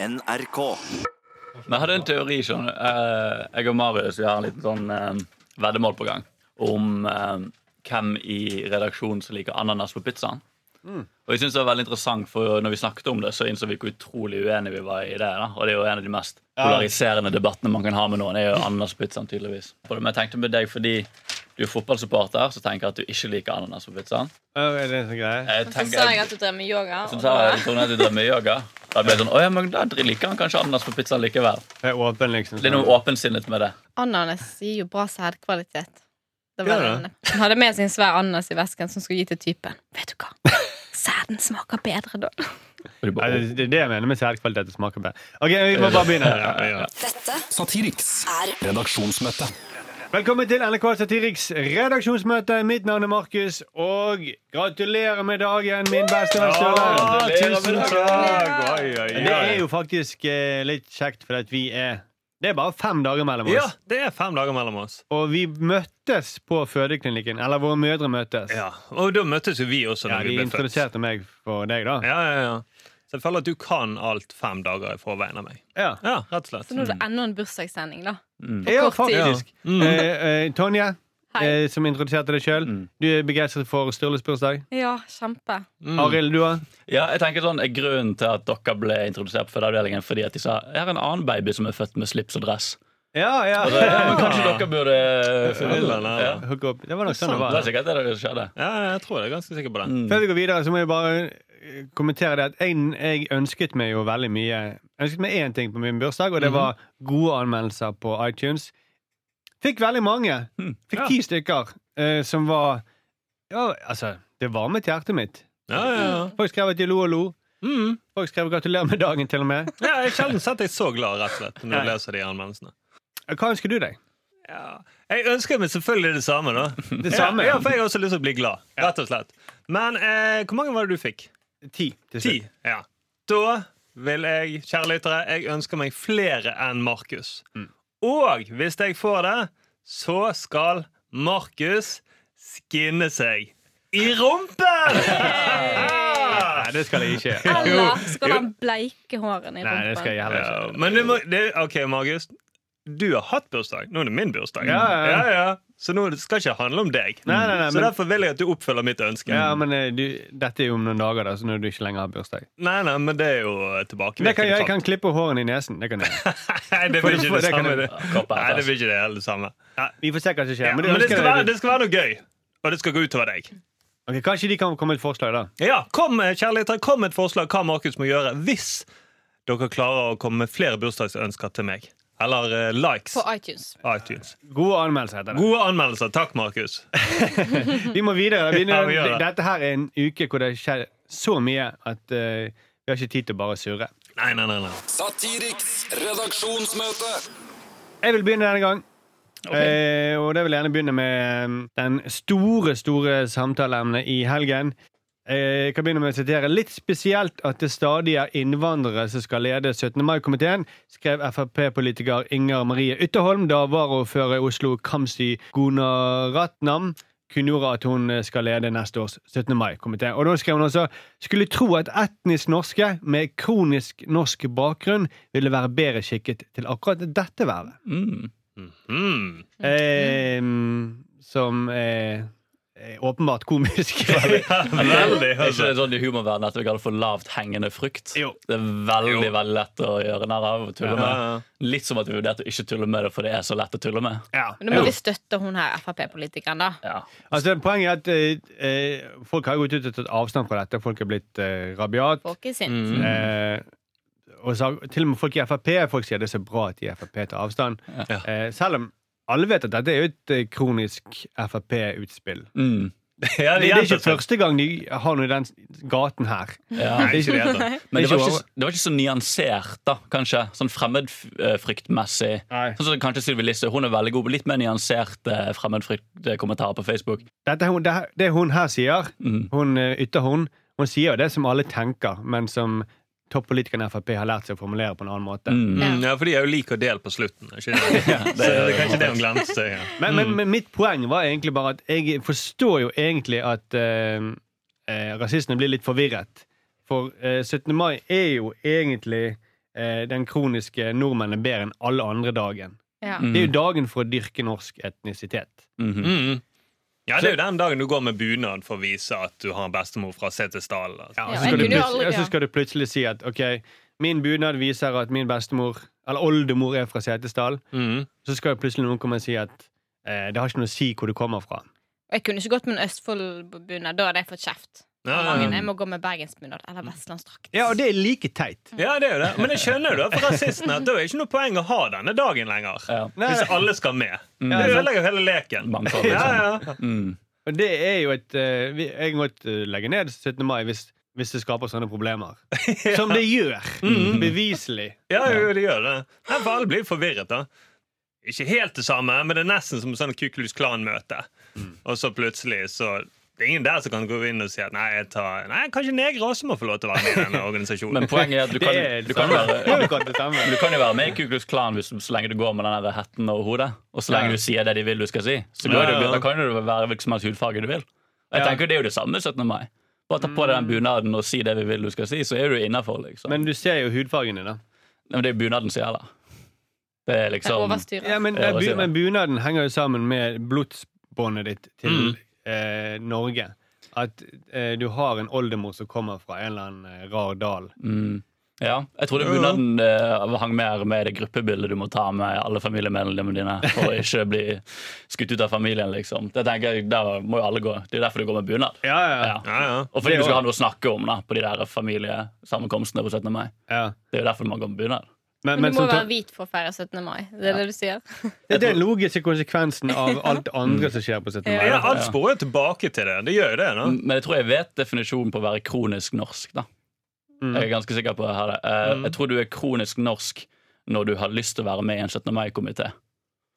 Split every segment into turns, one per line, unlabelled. NRK.
Vi hadde en teori, skjønner du. Eh, Jeg og Marius vi har en liten sånn eh, veddemål på gang om eh, hvem i redaksjonen som liker ananas på pizzaen. Og jeg synes det var veldig interessant, for når vi snakket om det, så innså vi hvor utrolig uenige vi var i det. da Og det er jo en av de mest polariserende debattene man kan ha med noen. Det er jo ananas på pizzaen, tydeligvis. Og jeg tenkte med deg fordi du er fotballsupporter, så tenker jeg at du ikke liker ananas på pizzaen.
Eh, Eller en sånn greie.
Jeg
Så sa jeg at du drev med yoga.
så
og
sa
da-
jeg
liksom-
sånn at du drev med yoga. Da ble jeg sånn, «Å ja, men da liker han kanskje ananas på pizzaen likevel.
Jeg er åpen, liksom.
Litt noe åpensinnet med det.
Ananas gir jo bra sædkvalitet. Det var
Gjør
det.
det?
Hun hadde med seg en svær ananas i vesken som skulle gi til typen. Vet du hva? Sæden smaker bedre da.
Og de
Nei,
bare,
det, det er det jeg mener med særkvalitet og smaker bedre. Ok, vi må bare begynne.
Dette
Satiriks
er
redaksjonsmøte.
Velkommen til NRK Satiriks redaksjonsmøte. Mitt navn er Markus, og gratulerer med dagen, min beste venn
Ah,
Sturle.
gratulerer med
Tusen
dagen.
takk. Det er jo faktisk eh, litt kjekt, for at vi er Det er bare fem dager mellom oss.
Ja, det er fem dager mellom oss.
Og vi møttes på fødeklinikken. Eller våre mødre møttes.
Ja. Og da møttes jo vi også.
Ja,
Når
de
vi ble født. Ja,
introduserte meg for deg, da.
ja, ja. Så jeg føler at du kan alt fem dager i forveien av meg.
Ja,
Ja, rett og slett.
Så nå er det enda en bursdagssending, da.
Mm. ja
kort tid.
faktisk.
Mm.
Eh, eh, Tonje,
Hei.
eh, som introduserte deg sjøl,
Mm.
du er begeistret for Sturles bursdag.
Ja, kjempe.
Mm.
Arild, du òg?
Ja, jeg tenker sånn, eh, Grunnen til at dere ble introdusert på fødeavdelingen, fordi at de sa jeg har en annen baby som er født med slips og dress.
Ja, ja.
Og så, ja, men kanskje dere burde finne ut
Ja, nei, nei.
ja.
Hook up. Det var nok sånn det
Det er
var.
sikkert det som skjedde.
Ja, jeg tror jeg er ganske sikker på det.
Mm.
Før vi går videre, så må jeg bare eh, kommentere det at jeg, jeg ønsket meg jo veldig mye Jeg ønsket meg én ting på min bursdag, og det var gode anmeldelser på iTunes. Fikk veldig mange.
Mm.
Fikk ti stykker eh, som var Ja, altså Det varmet hjertet mitt.
Ja, ja, ja.
Folk skrev at de lo og lo.
Mm.
Folk skrev 'gratulerer med dagen', til og med.
ja jeg har sjelden sett deg så glad, rett og slett, når du leser de anmeldelsene.
Hva ønsker du deg?
Ja. Jeg ønsker meg selvfølgelig det samme, da.
Det samme,
Ja,
ja.
ja, for jeg har også lyst til å bli glad. Rett og slett. Men eh, hvor mange var det du fikk?
Ti. til
Ti.
slutt.
Ja. Da vil jeg, kjære lyttere, jeg ønsker meg flere enn Markus.
Mm.
Og hvis jeg får det, så skal Markus skinne seg i rumpen!
Nei, det skal jeg ikke gjøre.
Eller skal han bleike hårene i
Nei, det skal
rumpen?
jeg heller ikke.
Ja, men det må, det, OK, Markus. Du har hatt bursdag. Nå er det min bursdag.
Ja, ja, ja.
Så nå skal det ikke handle om deg.
Nei, nei, nei,
så
men-
derfor vil jeg at du oppfølger mitt ønske.
Ja, men eh, du, Dette er jo om noen dager, da, så når du ikke lenger har bursdag.
Nei, nei, men mm. det er jo tilbakevirkende.
Det kan jeg, jeg kan klippe hårene i nesen. Det kan jeg. gjøre.
Nei, det
For-
blir ikke
for-
det
det kan
samme.
jeg-
det.
Kroppen er
Nei, det
fast.
blir ikke det hele det samme.
Vi får se hva som skjer.
Ja,
men du
men det
ønsker
skal,
deg-
være, det skal være noe gøy, og det skal gå utover deg.
Ok, Kanskje de kan komme med et forslag, da.
Ja, kom, eh, kjærligheter, kom med et forslag hva Markus må gjøre hvis dere klarer å komme med flere bursdagsønsker til meg. Eller eh, likes.
På iTunes.
iTunes.
Gode anmeldelser heter det.
Gode anmeldelser. Takk, Markus.
Vi må videre. Vi,
Ja, vi gjør det.
dette her er en uke hvor det skjer så mye at eh, vi har ikke tid til å bare surre.
Nei, nei, nei. nei.
Satiriks redaksjonsmøte.
Jeg vil begynne denne gang. Eh, og det vil jeg gjerne begynne med eh, den store, store samtaleemnet i helgen. Eh, Jeg kan begynne med å sitere litt spesielt at det stadig er innvandrere som skal lede 17. mai-komiteen, skrev Frp-politiker Inger Marie Ytterholm da varaordfører i Oslo Kamzy Gunaratnam kunngjorde at hun eh, skal lede neste års 17. mai-komité. Og da skrev hun også skulle tro at etnisk norske med kronisk norsk bakgrunn ville være bedre skikket til akkurat dette vervet.
Mm.
Mm.
Eh, som eh, er åpenbart komisk.
Ja, veldig.
Er ikke
Altså.
det sånn i humorverdenen at vi kaller det for lavt hengende frukt?
Jo.
Det er veldig veldig lett å gjøre narr av. og tulle
Ja,
med.
ja.
Litt som at vi vurderte å ikke tulle med det, for det er så lett å tulle med.
ja.
Men nå må vi støtte hun her Frp-politikeren, da.
Ja.
Altså, poenget er at eh, eh, folk har gått ut og tatt avstand fra dette. Folk er blitt eh, rabiat.
Folk er sint.
Mm.
Eh, og så, til og med folk i Frp folk sier det er så bra at de i Frp tar avstand.
Ja.
Eh, selv om alle vet at dette er jo et eh, kronisk Frp-utspill.
Mm.
Ja,
Det, det er ikke
gjentas.
første gang de har noe i den gaten her.
ja.
Nei, ikke det gjentas.
Men det
Ikke
var,
over.
ikke, det var ikke så nyansert, da, kanskje. Sånn fremmedfryktmessig.
Nei.
Sånn som kanskje Sylvi Listhaug. Hun er veldig god på litt mer nyanserte fremmedfryktkommentarer på Facebook.
Dette, er hun- det, her- det hun her sier,
Mm.
hun eh, Ytterhorn, hun sier jo det som alle tenker, men som toppolitikerne i Frp har lært seg å formulere på en annen måte.
Mm.
Mm, ja, for de er jo lik og del på slutten. Ikke? det? Så det er kanskje det hun glemte. Ja.
Men,
Mm.
men, men mitt poeng var egentlig bare at jeg forstår jo egentlig at eh, eh, rasistene blir litt forvirret. For eh, 17. mai er jo egentlig eh, eh, den kroniske nordmenn er bedre enn alle andre dagen.
Ja.
Mm.
Det er jo dagen for å dyrke norsk etnisitet.
Mhm.
Mm. Ja, Det er jo den dagen du går med bunad for å vise at du har en bestemor fra Setesdal. Altså.
Ja, og så
Ja, jeg
skal, du
kunne jo
plutselig-
aldri-
ja, så
ja.
skal du plutselig si at ok, min bunad viser at min bestemor, eller oldemor, er fra Setesdal.
Mm.
Så skal jo plutselig noen komme og si at eh, det har ikke noe å si hvor du kommer fra.
Og jeg kunne ikke gått med en Østfoldbunad. Da hadde jeg fått kjeft.
Ja, ja, ja.
Jeg må gå med bergensbunad eller vestlandsdrakt.
Mm. Ja, og det er like teit.
ja, det er jo det. Men jeg skjønner jo da for rasistene at det er ikke noe poeng å ha denne dagen lenger.
Ja.
Nei.
Hvis alle skal med. Det
Ja, sant.
ødelegger hele leken.
Mangfold,
Ja,
liksom.
ja.
Mm.
Og det er jo et eh, vi- Jeg kan godt eh, legge ned 17. mai hvis, hvis det skaper sånne problemer. Som det gjør. Mm-hmm. Beviselig.
ja jo, det gjør det. Her for alle blir forvirret, da. Ikke helt det samme, men det er nesten som sånn Ku Klux Klan-møte.
Mm.
Og så plutselig så det er ingen der som kan gå inn og si at nei, jeg tar, nei kanskje negre også må få lov til å være med i denne organisasjonen.
Men poenget er at du kan,
det er
du kan,
samme. Det er
være,
akkurat det samme.
du kan jo være med i Ku Klux Klan hvis, så lenge du går med den der hetten over hodet. Og så lenge
Ja.
du sier det de vil du skal si. Så går
Ja, ja,
du,
ja.
da kan du være hvilken som helst hudfarge du vil. Og jeg
Ja. Mm.
tenker Det er jo det samme 17. mai. Bare ta på deg den bunaden og si det vi vil du skal si, så er du innafor. Liksom. Men,
Men du ser jo hudfargene, da.
men det er bunaden som gjelder. Det er
Jeg
liksom
overstyrer.
Ja, men,
Ja, hva
bu
sier
men bunaden henger jo sammen med blodsbåndet ditt til
Mm.
eh, Norge. At eh, du har en oldemor som kommer fra en eller annen eh, rar dal.
mm, ja. Jeg trodde bunaden eh, hang mer med det gruppebildet du må ta med alle familiemedlemmene dine for å ikke bli skutt ut av familien, liksom. Det tenker jeg, Der må jo alle gå. Det er derfor du går med bunad.
Ja, ja,
Ja.
Ja, ja.
Og fordi
Det
du skal ha
også.
noe å snakke om da, på de der familiesammenkomstene på 17. mai.
ja.
Det er jo derfor man går med bunad.
Men,
Men
men
du må
som,
være
tar-
hvit for å feire 17. mai. Det er det du sier.
det er den logiske konsekvensen av alt andre som skjer på 17. mai.
Ja,
da.
alt sporer jo tilbake til det. Det gjør jo det. da.
Men jeg tror jeg vet definisjonen på å være kronisk norsk. da.
Mm.
Jeg er ganske sikker på det her. Eh, Jeg tror du er kronisk norsk når du har lyst til å være med i en 17. mai-komité.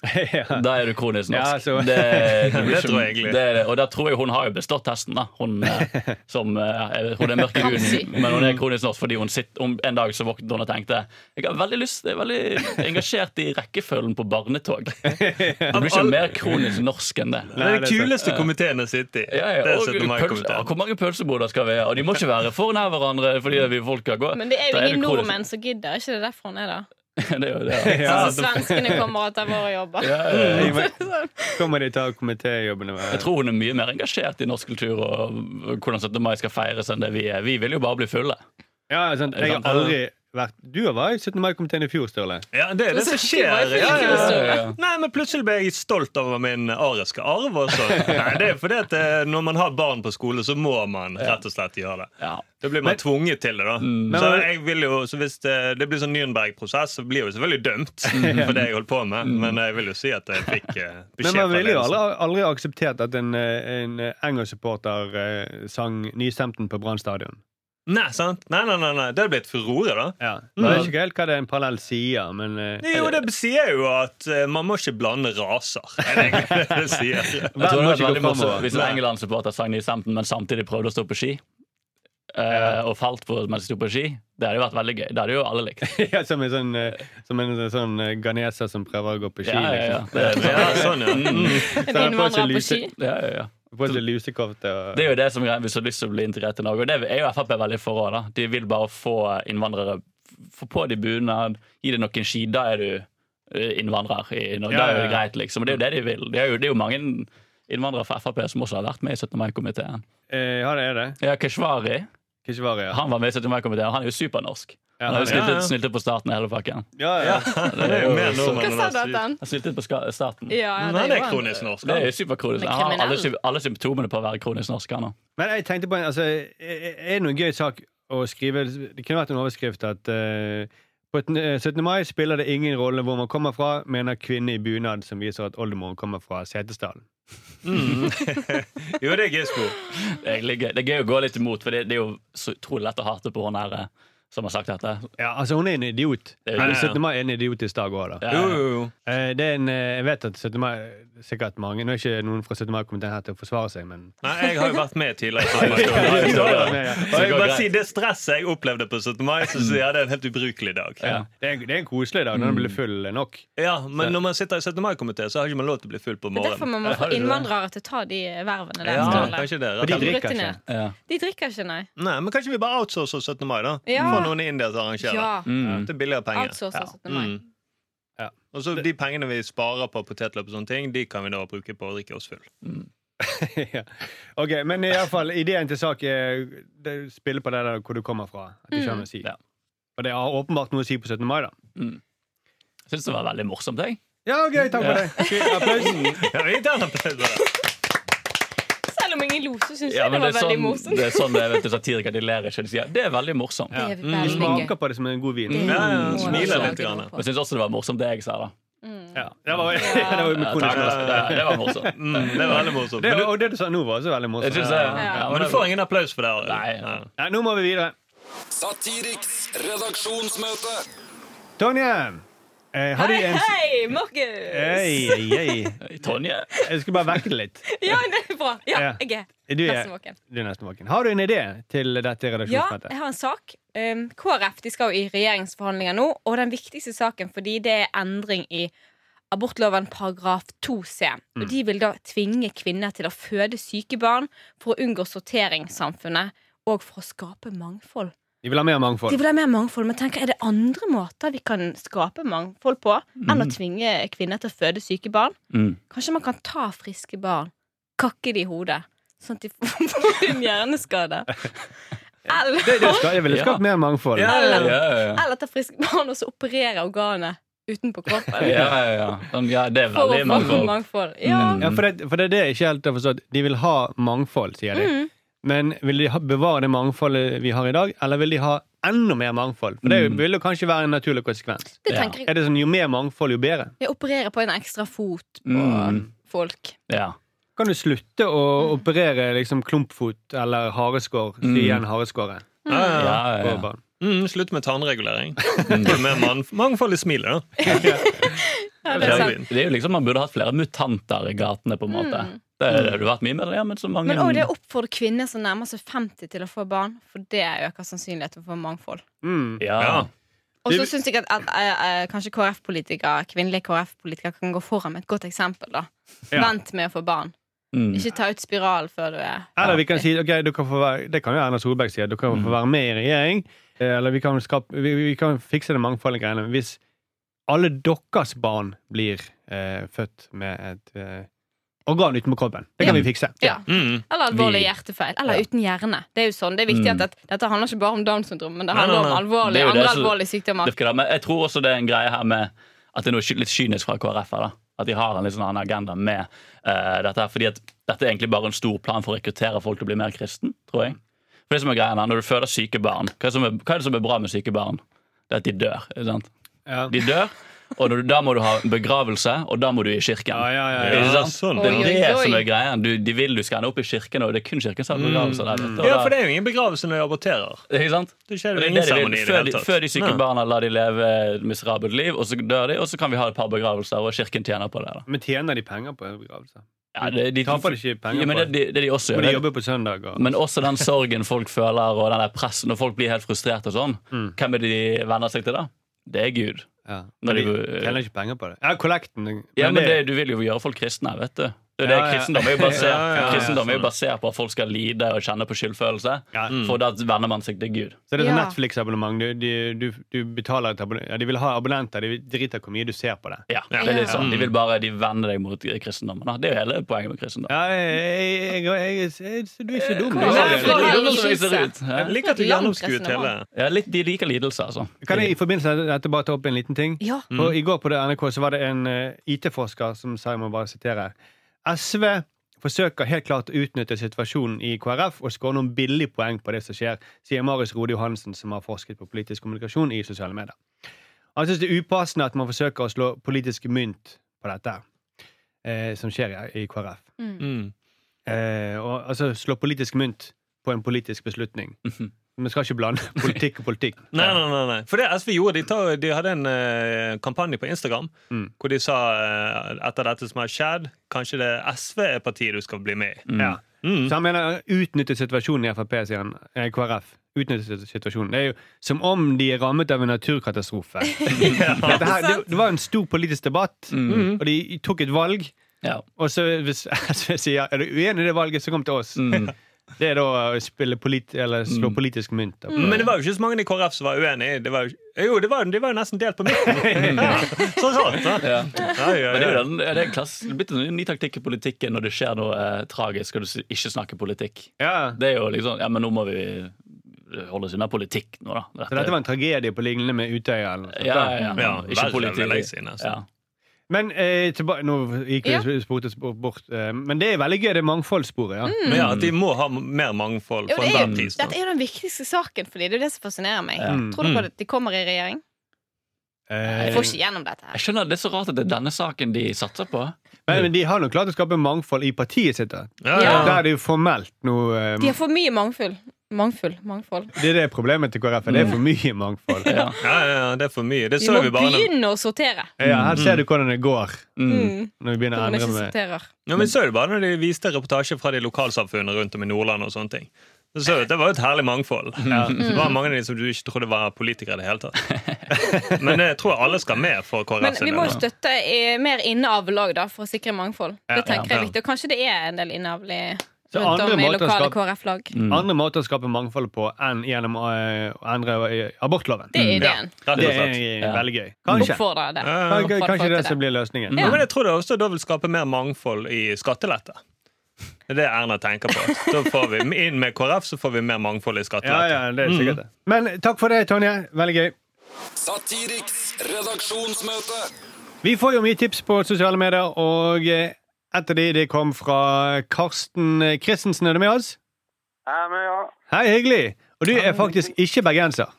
Ja.
Da er du kronisk
Ja,
norsk.
så-
det,
Det
blir
tror jeg egentlig.
det er det. og da tror jeg hun har jo bestått testen, da. Hun, eh, som, eh, jeg vet- hun er mørk i
Kan si.
huden, men hun er kronisk norsk fordi hun sitter, om en dag så våknet hun og tenkte Jeg har veldig lyst, jeg er veldig engasjert i rekkefølgen på barnetog. Du blir ikke mer kronisk norsk enn det.
Det er
Nei,
den
det er
kuleste komiteen å sitte i.
Ja, ja,
Det er
og
17.
pølse, ja,
mai-komiteen.
hvor mange pølseboder skal vi ha? Og de må ikke være for nær hverandre. Fordi vi folk kan gå
Men det er
Da
jo ingen
du kronisk-
nordmenn som gidder. Er ikke det derfor han er der?
det er jo det.
Ja,
Sånn som svenskene kommer og tar våre jobber.
Ja, ja, ja.
Sånn.
Kommer de til å ta komitéjobbene med?
Jeg tror hun er mye mer engasjert i norsk kultur og hvordan 17. mai skal feires enn det vi er. Vi vil jo bare bli fulle.
Ja, sant. Jeg har aldri vært Du var i 17. mai-komiteen i fjor, Sturle.
Ja, det er det som skjer. Ja, ja,
Ja,
ja.
ja,
Nei, men Plutselig ble jeg stolt over min ariske arv. og så- Nei, det er fordi at eh, Når man har barn på skole, så må man rett og slett gjøre det.
Ja.
Da blir man tvunget til det. da Så jeg vil jo, så Hvis det, det blir sånn Nürnberg-prosess, så blir jeg jo selvfølgelig dømt for det jeg holdt på med. Men jeg vil jo si at jeg fikk eh,
Men
beskjed
man
fra
ville jo aldri,
ledelsen.
aldri akseptert at en, eh, en Engels-supporter eh, sang Nystemten på Brann stadion.
Nei, sant? Nei, nei, nei, nei. Det hadde blitt furore, da.
Ja. Mm. Jeg vet ikke helt hva det er en parallell sier, men eh,
Jo, det sier jo at eh, man må ikke blande raser. Er det egentlig det det sier?
Jeg tror det
må
var
ikke gå
veldig morsomt
fremover.
Hvis en England-supporter sang Nysemten, men samtidig prøvde å stå på ski, eh, og falt på mens de sto på ski, det hadde jo vært veldig gøy. Det hadde jo alle likt.
ja, som en sånn, eh, som en sånn eh, ghaneser som prøver å gå på ski.
Ja, ja, ja.
liksom.
Det, er-
Ja, sånn, ja. Mm.
En
Så han får seg
innvandrer på
lyse-
ski.
ja, ja, ja.
Får seg lusekofte og
Det er jo det som er hvis du har lyst til å bli integrert i Norge. Og det er jo Frp veldig for også, da. De vil bare få innvandrere Få på de bunad, gi deg noen ski, da er du eh, innvandrer i Norge. Da
Ja,
er
ja,
det
ja.
greit, liksom. Og det er jo det de vil. Det er jo, det er jo mange innvandrere fra Frp som også har vært med i 17. mai-komiteen.
eh, Ja, det er det.
Ja, Keshvari
Keshvari, ja.
han var med i 17. mai-komiteen, og han er jo supernorsk.
Ja,
Han har jo
han er-
snylt
ja.
ut, snylt ut på staten i hele pakken.
ja, ja.
Det er jo mer nordmenn
Hva
enn
sa du at
rasist.
han?
Han snylt ut på ska- staten.
Ja,
Men
det
han er
gjorde han.
kronisk norsk.
Det er
han.
jo superkronisk.
Men
Han har alle,
kriminell.
sy- alle symptomene på å være kronisk norsk, han òg.
Men jeg tenkte på en, altså, er er det noen gøy sak å skrive Det kunne vært en overskrift at eh, på et- eh, 17. mai spiller det ingen rolle hvor man kommer fra, mener kvinne i bunad som viser at oldemoren kommer fra Setesdalen.
Jo, det er Gispo.
Det er egentlig gøy. Det er gøy å gå litt imot, for det, det er jo så utrolig lett å hate på hun her eh, som har sagt dette.
Ja, altså, hun er en idiot.
Det er jo-
Men 17. mai er en idiotisk dag òg, da.
Ja,
Jo,
ja.
jo, jo.
Eh, det er en, eh, jeg vet at 17. mai sikkert mange Nå er ikke noen fra 17. mai kommet her til å forsvare seg, men
Nei, jeg har jo vært med tidligere.
Ja, ja, ja.
Og jeg bare sier Det stresset jeg opplevde på 17. mai, så sier jeg det er en helt ubrukelig dag.
Ja.
Det er, en- det er en koselig dag når den blir full nok.
Ja, Men når man sitter i 17. mai-komité, så har ikke man lov til å bli full på
Det er derfor man
morgenen.
må få innvandrere til å ta de vervene der.
Ja,
Sturle.
kanskje det er
Og de
rett.
drikker ikke.
Rutinert.
Ja.
De drikker ikke, nei.
Nei, men kanskje vi bare outsourcer 17. mai, da?
Ja,
har noen i India som arrangerer.
Ja.
Mm.
Det er billigere penger.
Outsourcer
Ja.
17. mai.
Mm. Og så De pengene vi sparer på potetløp, og sånne ting De kan vi da bruke på å drikke oss full.
ja. Ok, Men i alle fall, ideen til sak er det- spille på det der hvor du kommer fra. At det ikke har noe å si.
Ja.
Og det har åpenbart noe å si på 17. mai, da.
Jeg syns det var veldig morsomt. jeg
Ja, gøy, takk for
Ja.
det. Fy- Applaus.
Ja, vi tar en applaus for det.
Selv om ingen lo, så syns
Ja,
jeg det
men
var
det er
veldig
sånn
morsomt.
det er sånn det er, vet du, satirikere de ler ikke. De sier det er veldig morsomt.
Det er
Du
veldig
smaker
gøy.
på det som en god vin.
Det
Ja, ja,
må
smiler
vi
litt
lage
grann.
noe
Og
på.
jeg syns også det var morsomt, det jeg sa. da
Ja, det var, det var jo
Ja,
ikonisk.
takk, det, det var morsomt.
Mm, det var veldig morsomt.
Det,
Men du,
og det du sa nå, var også veldig
Jeg synes
morsomt.
det,
Ja.
ja,
men du får ingen applaus for det. Arild.
Nei, ja.
Nei.
Ja, nå må vi videre.
Satiriks redaksjonsmøte.
Tonje! Eh, har du
Hei,
en
hei, Markus!
Hei, hei.
Tonje
Jeg skulle bare vekke det litt.
Ja, det er bra. Ja,
Ja.
jeg er
Du er,
nesten våken.
du er nesten våken. Har du en idé til dette
Ja,
redaksjonsmøtet?
jeg har en sak. Um, KrF de skal jo i regjeringsforhandlinger nå, og den viktigste saken fordi det er endring i abortloven paragraf 2c.
Mm.
Og De vil da tvinge kvinner til å føde syke barn for å unngå sorteringssamfunnet og for å skape mangfold.
De vil ha mer mangfold.
De vil ha mer mangfold, men tenker, er det andre måter vi kan skape mangfold på enn å
Mm.
tvinge kvinner til å føde syke barn?
Mm.
Kanskje man kan ta friske barn, kakke de i hodet, sånn at de får en hjerneskade? Eller
Det, det skal, jeg ville
Ja.
skapt mer mangfold.
Ja, ja,
Ja,
ja.
ja, ja.
Eller ta friske barn og så operere organet utenpå kroppen.
Ja, ja, ja. Sånn, ja, det er
For å
veldig
få
mangfold.
mangfold. Ja.
Mm.
Ja, for det, for det er det jeg ikke helt har forstått. De vil ha mangfold, sier de.
Mm.
Men vil de ha, bevare det mangfoldet vi har i dag, eller vil de ha enda mer mangfold? For det
Mm.
vil jo kanskje være en naturlig konsekvens.
Det
Ja.
tenker jeg.
Er det sånn, Jo mer mangfold, jo bedre.
Jeg opererer på en ekstra fot på
Mm.
folk.
Ja.
Kan du slutte å operere liksom klumpfot eller hareskår?
Mm.
Sy igjen hareskåret
Ja,
Ja,
ja.
ja,
på
ja.
barn.
Mm, slutt med tannregulering. Det er mer man- mangfold i smilet, da.
Ja,
det
det
er
er
sant.
sant.
Det er jo liksom, Man burde hatt flere mutanter i gatene, på en måte.
Mm.
Det er det du har vært mye med det, ja, men så mange
Men òg det å oppfordre kvinner som nærmer seg 50 til å få barn, for det øker sannsynligheten for mangfold.
Mm.
Ja.
Ja.
Og så
Det-
syns jeg at, at eh, eh, kanskje KrF-politikere, kvinnelige KrF-politikere kan gå foran med et godt eksempel. da
Ja.
Vent med å få barn.
Mm.
Ikke ta ut spiral før du er
Eller vi kan si ok, du kan få være, det kan jo Erna Solberg si, at du kan få være med i regjering. eh, Eller vi kan, skap, vi, vi kan fikse det mangfoldige greiene. Hvis alle deres barn blir eh, født med et eh, organ utenpå kroppen. Det kan
Ja.
vi fikse.
Ja.
Mm.
Eller alvorlig
Vi-
hjertefeil. Eller
Ja.
uten hjerne. Det er jo sånn, det er viktig
Mm.
at det, Dette handler ikke bare om Downs syndrom, men det
Nei,
handler
nei, nei.
om alvorlig,
Det er jo
andre
det som-
alvorlige sykdommer.
Dyrker det. Men jeg tror også det er en greie her med at det er noe sky- litt kynisk fra KrF. her, da. At de har en litt sånn annen agenda med eh, dette. her, fordi at dette er egentlig bare en stor plan for å rekruttere folk til å bli mer kristen, tror jeg. For det som er greia her, Når du føder syke barn, hva er det som er, hva er, det som er bra med syke barn? Det er at de dør. ikke sant?
Ja.
De dør, og når du, da må du ha begravelse, og da må du i kirken.
Ja, ja, ja,
Ikke
Ja,
sant?
sånn.
Det
Oi, oi,
er det
oi.
som er greia. Du, de vil du skal ende opp i kirken, og det er kun kirken som har begravelse. Der, vet du. Og
Mm. ja,
da-
for det er jo ingen begravelse når de aborterer.
ikke sant?
Det skjer
Og
jo
det er
ingen
det de vil.
seremoni i det
før,
hele
de,
tatt.
før de syke
Nei.
barna lar de leve et miserabelt liv, og så dør de, og så kan vi ha et par begravelser, og kirken tjener på det. da.
Men tjener de penger på en begravelse?
Ja, det, de,
Taper de ikke penger
ja, men
på
det,
det?
det, det de også
Må de
gjør, det,
jobbe på søndag? Og...
men også den sorgen folk føler, og den der pressen, når folk blir helt frustrert og sånn,
Mm.
hvem er det de venner seg til da? Det er Gud.
ja.
Når
Men de
de-
tjener ikke penger på det. Ja, kollekten.
Ja,
men
men det,
det-
Du vil jo gjøre folk kristne, vet du. Det er
Ja,
det
ja.
kristendom er jo basert,
Ja, ja, ja,
kristendom er
sånn.
jo basert på at folk skal lide og kjenne på skyldfølelse.
Ja. Mm.
For da venner man seg til Gud.
Så det er sånn
Ja.
Netflix-abonnement. Du, de- du, du betaler et abonnement. Ja, de vil ha abonnenter. De driter i hvor mye du ser på det.
Ja,
Ja.
det er litt sånn.
Ja.
De
Mm.
vil bare de vender deg mot kristendommen. da. Det er jo hele poenget med kristendom.
Ja, jeg, jeg, jeg, jeg, jeg, du er ikke dum.
Kom
du
igjen.
er
Nei,
ikke
for-
dum.
Jeg liker at du gjennomskuet hele
Ja, litt, de liker lidelse, altså.
Kan jeg i forbindelse med dette bare ta opp en liten ting?
Ja.
For I går på det NRK så var det en eh, IT-forsker som sa, jeg må bare sitere her SV forsøker helt klart å utnytte situasjonen i KrF og skåre noen billige poeng på det som skjer, sier Marius Rode Johansen, som har forsket på politisk kommunikasjon i sosiale medier. Han syns det er upassende at man forsøker å slå politisk mynt på dette her, eh, som skjer i, i KrF.
Mm.
Eh, og, altså slå politisk mynt på en politisk beslutning. Vi skal ikke blande politikk og politikk.
Nei, nei, nei, nei. For det SV gjorde, de, tar, de hadde en eh, kampanje på Instagram
Mm.
hvor de sa eh, etter dette som har skjedd, kanskje det SV er partiet du skal bli med i.
Ja.
Mm.
Så han mener utnytte situasjonen i Frp, sier han. Eh, KrF. Utnytte situasjonen. Det er jo som om de er rammet av en naturkatastrofe. Dette her, det, det var en stor politisk debatt,
Mm.
og de tok et valg.
Ja.
Og så hvis SV sier er du uenig i det valget, så kom til oss.
Mm.
Det er da å spille polit, eller slå politisk mynt. da.
Men det var jo ikke så mange i KrF som var uenige. Det var jo, jo, det var, de var jo nesten delt på midten. Sånn sånn, sånn.
Ja.
Ja, ja,
Men det er jo
ja.
den, det er en klass, det er blitt en ny taktikk i politikken når det skjer noe eh, tragisk, skal du si- ikke snakke politikk.
Ja.
Det er jo liksom Ja, men nå må vi holde oss unna politikk nå, da.
Så dette var en tragedie på lignende med Utøya. Eller noe sånt,
ja,
da.
ja, ja.
Ja,
Ikke
verre,
politikk.
vil jeg si,
altså.
nesten.
ja.
Men eh, tilba- Nå gikk vi
Ja.
sportet sp- bort. eh, Men det er veldig gøy, det mangfoldssporet. Ja.
Men ja, at de må ha mer mangfold
Jo,
for
det er
enhver
jo,
pris.
dette er jo den viktigste saken for dem. Det er jo det som fascinerer meg.
Ja.
Tror dere at de kommer i regjering? De
Eh,
får ikke gjennom dette.
Jeg
her
skjønner, Det er så rart at det er denne saken de satser på.
men, men de har nå klart å skape mangfold i partiet sitt. Da.
Ja,
Ja.
Der er det jo formelt noe eh,
De har for mye mangfold. Mangfold. mangfold.
Det er det problemet til KrF. Det er for mye mangfold.
Mm.
Ja.
Ja, ja, ja, det er for mye. Det
Vi
så
må
vi bare når,
begynne å sortere.
Ja, her ser du hvordan det går
Mm.
Mm.
når vi begynner å
Når man
endre
ikke
med
sorterer.
ja, men så det bare når de viste reportasje fra de lokalsamfunnene rundt om i Nordland. og sånne ting. Så så vi at det var jo et herlig mangfold. Det var mange av de som du ikke trodde var politikere i det hele tatt. Men det tror jeg alle skal med for
Men
KrF sin
vi må
del.
jo støtte eh, mer inneavl òg, da, for å sikre mangfold. Det
ja,
tenker jeg er
ja.
viktig. Og kanskje det er en del innavl i
Så
rundt
andre
om i
måter å
lokale
skape-
KrF-lag.
andre måter å skape mangfold på enn gjennom eh, å endre eh, abortloven.
Det er
Ja,
ideen.
rett og
Det
slett.
er
Ja.
veldig gøy. Kanskje.
Oppfordre det.
Mm.
Mm.
Ja, ja, ja.
Kanskje,
Oppfordre
kanskje
til
det som blir løsningen.
Ja.
Men jeg tror det også da vil skape mer mangfold i skattelette. Det er det Erna tenker på. Da får vi Inn med KrF, så får vi mer mangfold i
Ja,
skattelette.
ja, det er
Mm.
sikkert det. Men takk for det, Tonje. Veldig gøy.
Satiriks redaksjonsmøte.
Vi får jo mye tips på sosiale medier, og eh, et av de det kom fra Karsten Christensen. Er du med oss?
Jeg er med, ja.
Hei, hyggelig. Og du er faktisk ikke bergenser.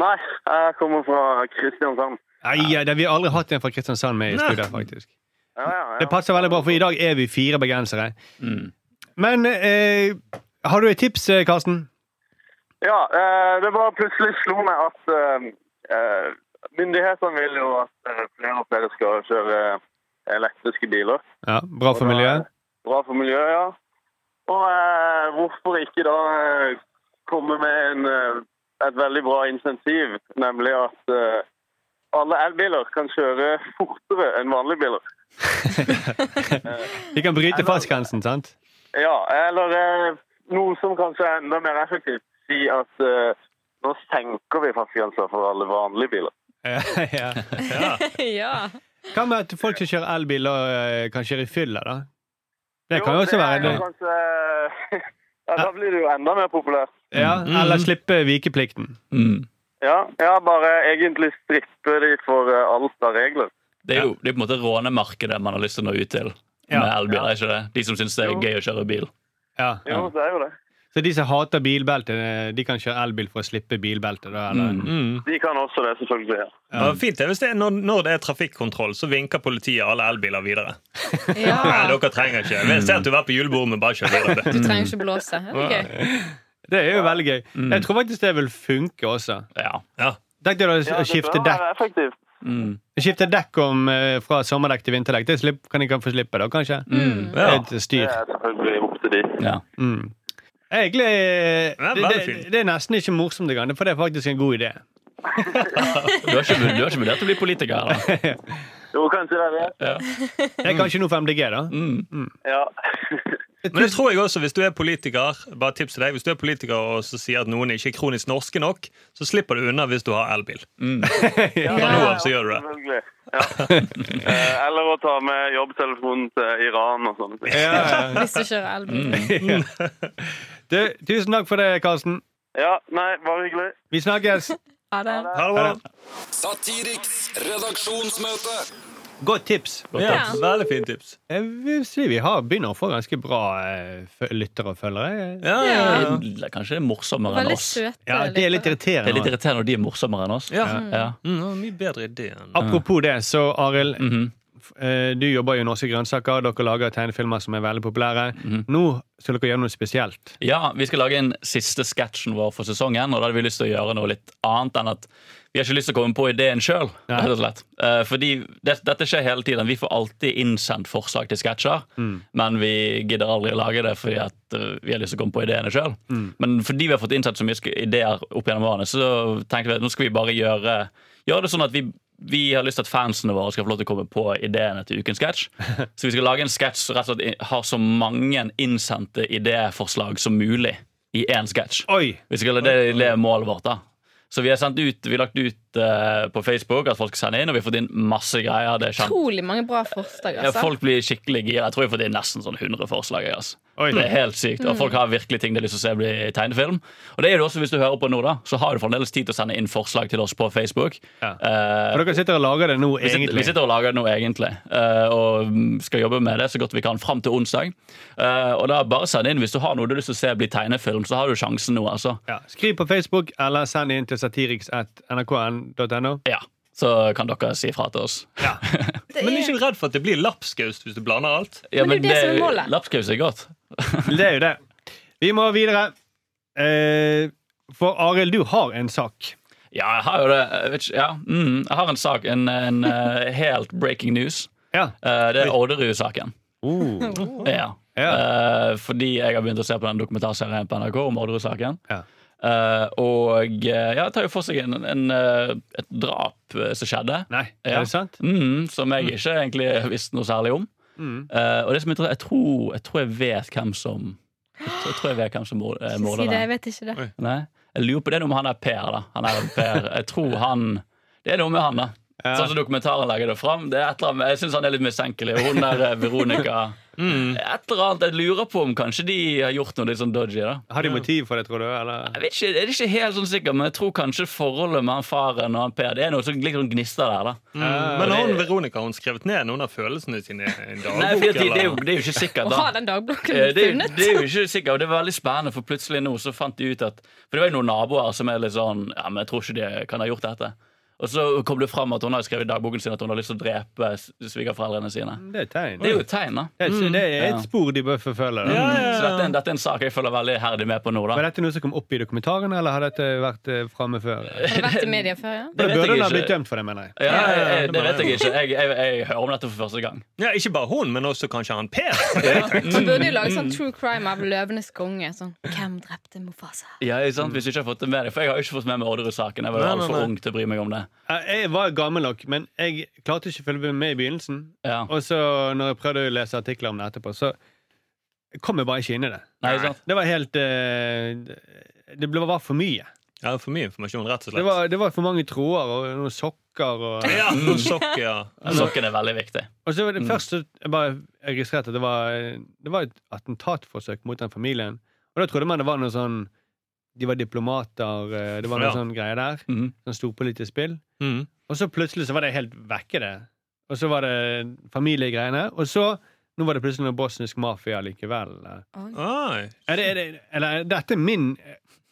Nei, jeg kommer fra Kristiansand.
Nei, ja, det- vi har aldri hatt en fra Kristiansand med i studio, faktisk.
Ja, ja, ja.
Det passer veldig bra, for i dag er vi fire bergensere.
Mm.
Men eh, har du et tips, eh, Karsten?
Ja, eh, det bare plutselig slo meg at eh, eh, myndighetene vil jo at eh, flere og flere skal kjøre eh, elektriske biler.
Ja, Bra for miljøet?
Bra for miljøet, ja. Og eh, hvorfor ikke da eh, komme med en, eh, et veldig bra insentiv, nemlig at eh, alle elbiler kan kjøre fortere enn vanlige biler.
Vi kan bryte fartsgrensen, sant?
Ja, eller eh, noe som kanskje er enda mer effektivt. Si at eh, nå senker vi fartsgrensa for alle vanlige biler.
Ja, ja.
ja.
Hva med at folk som kjører elbil, eh, kan kjøre i fylla, da? Det kan jo også
det
være
er
det.
jo Kanskje, ja, da blir det jo enda mer populært.
Ja, eller slippe vikeplikten.
Mm.
Ja, ja bare egentlig strippe de for eh, alt av regler.
Det er jo det er på en måte rånemarkedet man har lyst til å nå ut til med
Ja.
elbiler. er ikke det? De som syns det er gøy å kjøre bil.
Ja.
Jo, det er jo det.
Så de som hater bilbelte, eh, de kan kjøre elbil for å slippe bilbelte, da? Eller?
Mm.
De kan også det, selvfølgelig. ja.
Ja, fint det. Hvis det er når, når det er trafikkontroll, så vinker politiet alle elbiler videre. Nei,
ja.
dere trenger ikke. Vi ser at du har vært på julebord, men bare kjør videre.
Du trenger ikke blåse. Ja, det er gøy.
Det er jo veldig gøy. Jeg tror faktisk det vil funke også.
Ja.
Ja.
Tenk deg
Ja,
da å
det
skifte
bør
dekk,
være effektivt.
Mm.
skifte dekk om, eh, fra sommerdekk til vinterdekk. Det slipp, kan de kan få slippe, da, kanskje? Det er
Ja.
et
Mm. Det
styr.
er selvfølgelig opp til de.
ja.
Mm. Egentlig
Ja,
eh, det,
veldig
det,
fint.
det er nesten ikke morsomt engang, for det er faktisk en god idé.
Du har ikke, du har ikke vurdert å bli politiker? da?
Jo, kanskje det er det.
Det er kanskje noe for MDG, da.
Ja.
Men det tror jeg også, hvis du er politiker Bare tips til deg, hvis du er politiker og så sier at noen ikke er kronisk norske nok, så slipper du unna hvis du har elbil.
Ja,
Fra nå av så gjør du det.
selvfølgelig. Ja. Eh, Eller å ta med jobbtelefonen til Iran og sånne ting.
Ja, ja.
Hvis du kjører elbil.
Du, tusen takk for det, Karsten.
Ja, nei, bare hyggelig.
Vi snakkes.
Ha det.
Ha det bra.
Satiriks redaksjonsmøte.
Godt tips.
Ja, veldig fint tips.
Jeg vil si vi har begynner å få ganske bra eh, fø- lyttere og følgere.
Ja, ja, ja.
Det er Kanskje det er morsommere enn
Veldig
oss.
søte. liksom.
Ja, det er litt
lyttere.
Det er litt
irriterende.
irriterende når de er morsommere enn oss.
Ja.
Ja.
Mm, det var mye bedre idé enn
Apropos det, så Arild,
Mhm.
f- eh, du jobber jo i Norske Grønnsaker. Dere lager tegnefilmer som er veldig populære.
Mhm.
Nå skal dere gjøre noe spesielt.
Ja, Vi skal lage en siste sketsjen vår for sesongen. Og da hadde vi lyst til å gjøre noe litt annet enn at vi har ikke lyst til å komme på ideen sjøl.
Nei.
Eh, Fordi det, dette skjer hele tiden. Vi får alltid innsendt forslag til sketsjer. Men vi gidder aldri å lage det fordi at eh, vi har lyst til å komme på ideene sjøl. Men fordi vi har fått innsendt så mye sk- ideer opp gjennom årene, så tenkte vi at nå skal vi bare gjøre, gjøre det sånn at vi vi har lyst til at fansene våre skal få lov til å komme på ideene til ukens sketsj. Så vi skal lage en sketsj som rett og slett har så mange innsendte idéforslag som mulig i én sketsj.
Oi!
Vi skal det, er- det er målet vårt, da. Så vi har, sendt ut, vi har lagt ut eh, på Facebook at folk skal sende inn, og vi har fått inn masse greier. Det er kjempe-
Utrolig mange bra forslag,
ja,
altså.
folk blir skikkelig gira. Jeg tror jeg får inn nesten sånn 100 forslag. jeg, Altså.
Oi.
Det er helt sykt. Og folk har virkelig ting de har lyst til å se bli tegnefilm. Og det er det også hvis du hører på nå, da. Så har du fremdeles tid til å sende inn forslag til oss på Facebook.
Ja.
Eh,
For dere sitter og lager det nå,
vi sitter, vi
egentlig.
sitter og lager noe egentlig, eh, og mm, skal jobbe med det så godt vi kan fram til onsdag. Eh, og da bare send inn hvis du har noe du har lyst til å se bli tegnefilm, så har du sjansen nå, altså.
Ja. Skriv på Facebook, eller send inn til satiriks.nrk.no.
Ja. Så kan dere si fra til oss.
Ja.
Det
Men er
er,
ikke du redd for at det blir lapskaus hvis du blander alt?
Ja,
Men det er jo det som er målet.
Lapskaus er godt.
Det er jo det. Vi må videre. Eh, for Arild, du har en sak.
Ja, jeg har jo det. Jeg, vet ikke, ja. mm, jeg har en sak. En, en eh, helt breaking news.
Ja.
Eh, det er Orderud-saken.
Uh.
Ja.
Ja.
Eh, fordi jeg har begynt å se på den dokumentarserien på NRK om Orderud-saken.
Ja.
Eh, og eh, ja, tar jo for seg en, en, eh, et drap eh, som skjedde.
Nei, er
Ja.
det sant?
Mm, som jeg ikke egentlig visste noe særlig om.
Mm.
Eh, og det som er interessant, jeg tror, jeg tror jeg vet hvem som Jeg tror- jeg tror jeg vet hvem som mor- eh,
ikke si
morder
det,
den.
jeg vet ikke det.
Nei. Jeg lurer på det er noe med han der Per, da. Han er per. Jeg tror han Det er noe med han, da.
Ja.
Sånn som dokumentaren legger det fram. Det er et eller annet, jeg syns han er litt mistenkelig. Og Hun der eh, Veronica
Mm.
Et eller annet jeg lurer på om kanskje de har gjort noe litt sånn dodgy, da.
Har de motiv for det, tror du? Eller?
Jeg vet ikke, jeg er ikke helt sånn sikker, men jeg tror kanskje forholdet med han faren og han Per Det er noe som ligger sånn gnister der, da.
Men har hun Veronica har hun skrevet ned noen av følelsene sine i en dagbok?
Nei, for det, det, er jo,
eller?
det er jo ikke sikkert,
Å
da.
ha den dagblokken
Eh, Det, er jo-
funnet.
det er jo ikke sikkert, og det var veldig spennende, for plutselig nå så fant de ut at For det var jo noen naboer som er litt sånn Ja, men jeg tror ikke de kan ha gjort dette. Og så kom det fram at hun har skrevet i dagboken sin at hun har lyst til å drepe s- svigerforeldrene sine.
Det er et tegn.
Det er jo et tegn, da.
Det er- det er
Ja.
et spor de bør forfølge. Da.
Ja, ja,
Så dette er,
ja.
en, dette er en sak jeg følger veldig herdig med på nå, da.
Var dette noe som kom opp i dokumentaren, eller har dette vært eh, framme før?
Har du vært i media før, ja?
Det
Det
vet
burde
jeg
hun ha
ikke.
blitt dømt for det, mener jeg.
Ja,
Ja, ja, ja,
jeg, jeg,
det
det
mener
vet jeg ikke. Jeg, jeg, jeg hører om dette for første gang.
Ja, ikke bare hun, men også kanskje han Per.
Man burde jo lage sånn true crime av Løvenes konge. Sånn, Hvem drepte Mofasa?
Ja, ikke sant? Hvis du ikke har fått det med deg. For jeg har jo ikke fått med meg Orderud-saken. Jeg var jo
Nei, nei,
altfor
nei.
ung til å bry meg om det.
Eh, Jeg var gammel nok, men jeg klarte ikke å følge med i begynnelsen.
Ja.
Og så når jeg prøvde å lese artikler om det etterpå, så kom jeg bare ikke inn i det.
Nei, ikke sant?
Det var helt eh, Det ble, var for mye.
Ja, For mye informasjon, rett og
Det
slett.
var, det var for mange tråder og noen sokker og
Ja, noen sokker, ja.
Sokken er veldig viktig.
Og så var det først så jeg bare jeg registrerte at det var, det var et attentatforsøk mot den familien. Og da trodde man det var noe sånn De var diplomater, eh, det var noe
Ja.
sånn greie der.
Mhm.
Sånn storpolitisk spill.
Mm.
Og så plutselig så var det helt vekke, det. Og så var det familiegreiene. Og så Nå var det plutselig noe bosnisk mafia likevel.
Oi.
Er det, er det, eller er dette er min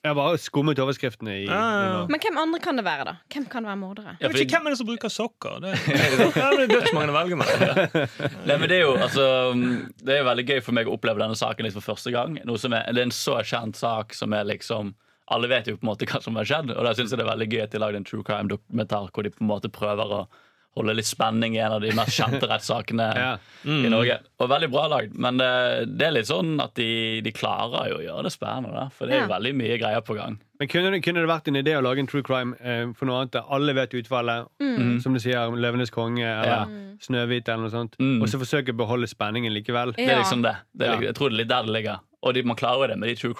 Jeg har bare skummet overskriftene i
Ja, ja, ja.
nå.
Men hvem andre kan det være, da? Hvem kan være mordere?
Ja,
Jeg
fordi-
vet ikke hvem er det som bruker sokker. Det, ja, men det er dødsmange å velge mellom.
Nei, men Det er jo altså, mm, Det er jo veldig gøy for meg å oppleve denne saken litt for første gang. Noe som er, det er en så kjent sak som er liksom Alle vet jo på en måte hva som har skjedd, og da syns jeg det er veldig gøy at de lagde en true crime-dokumentar hvor de på en måte prøver å holde litt spenning i en av de mest kjente rettssakene
Ja.
i
Mm.
Norge. Og veldig bra lagd, men det, det er litt sånn at de, de klarer jo å gjøre det spennende, da, for det er jo
Ja.
veldig mye greier på gang.
Men kunne det, kunne det vært en idé å lage en true crime eh, for noe annet der alle vet utfallet? Som du sier, 'Løvenes konge'
Ja.
eller 'Snøhvit' eller noe sånt.
Mm.
Og så forsøke å beholde spenningen likevel.
Det er
Ja.
liksom det. det er,
Ja.
Jeg tror det er litt der det ligger. Og de, man klarer jo det med de true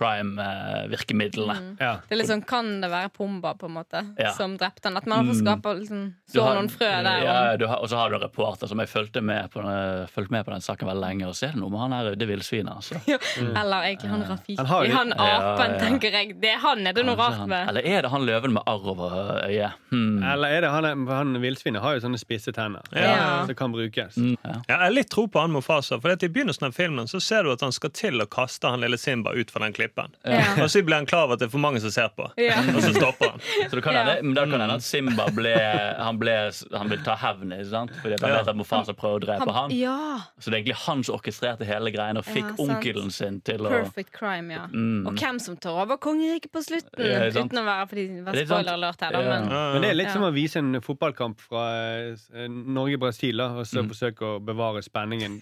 eh, crime-virkemidlene.
Ja.
Det er litt sånn, Kan det være Pumba på en måte
Ja. Mm.
som drepte han? At man får skape liksom,
Du
så
har- Mm,
noen frø der.
Ja,
om-
ja, du har, og så har du en reporter som jeg fulgte med på, den- fulgte med på den saken veldig lenge. Og så er det noe med han her, det villsvinet, altså.
Ja. Eller egentlig han Rafiki.
Han har
Han,
jo-
apen,
Ja, ja.
tenker jeg. Det er han er det noe
Kanskje
rart
Altså, han-
med.
Eller er det han løven med arr over øyet? Hmm.
Eller er det han, han villsvinet har jo sånne spisse tenner
Ja.
som kan brukes.
Mm, ja.
Ja, jeg har litt tro på han Mofasa, for at i begynnelsen av filmen så ser du at han skal til å kaste han lille Simba ut fra den klippen.
Ja.
Og så blir han klar over at det er for mange som ser på,
Ja.
og så stopper han.
Så det kan
Ja.
hende, men da kan hende at Simba ble, han, ble, han vil ta hevn, ikke sant? Fordi at han
Ja.
vet at Mofasa prøver å drepe han.
ja.
Så det er egentlig han som orkestrerte hele greien og fikk
Ja, sant.
onkelen sin til å
Perfect crime, ja.
Mm.
Og hvem som tar over kongeriket på slutten.
Ja, ikke sant.
uten å være, fordi, være
Det er sant.
spoiler alert her, da.
Ja.
Men,
Men det er litt
Ja.
som å vise en fotballkamp fra eh, Norge-Brasil, da, og
Mm.
så forsøke å bevare
Mm.
spenningen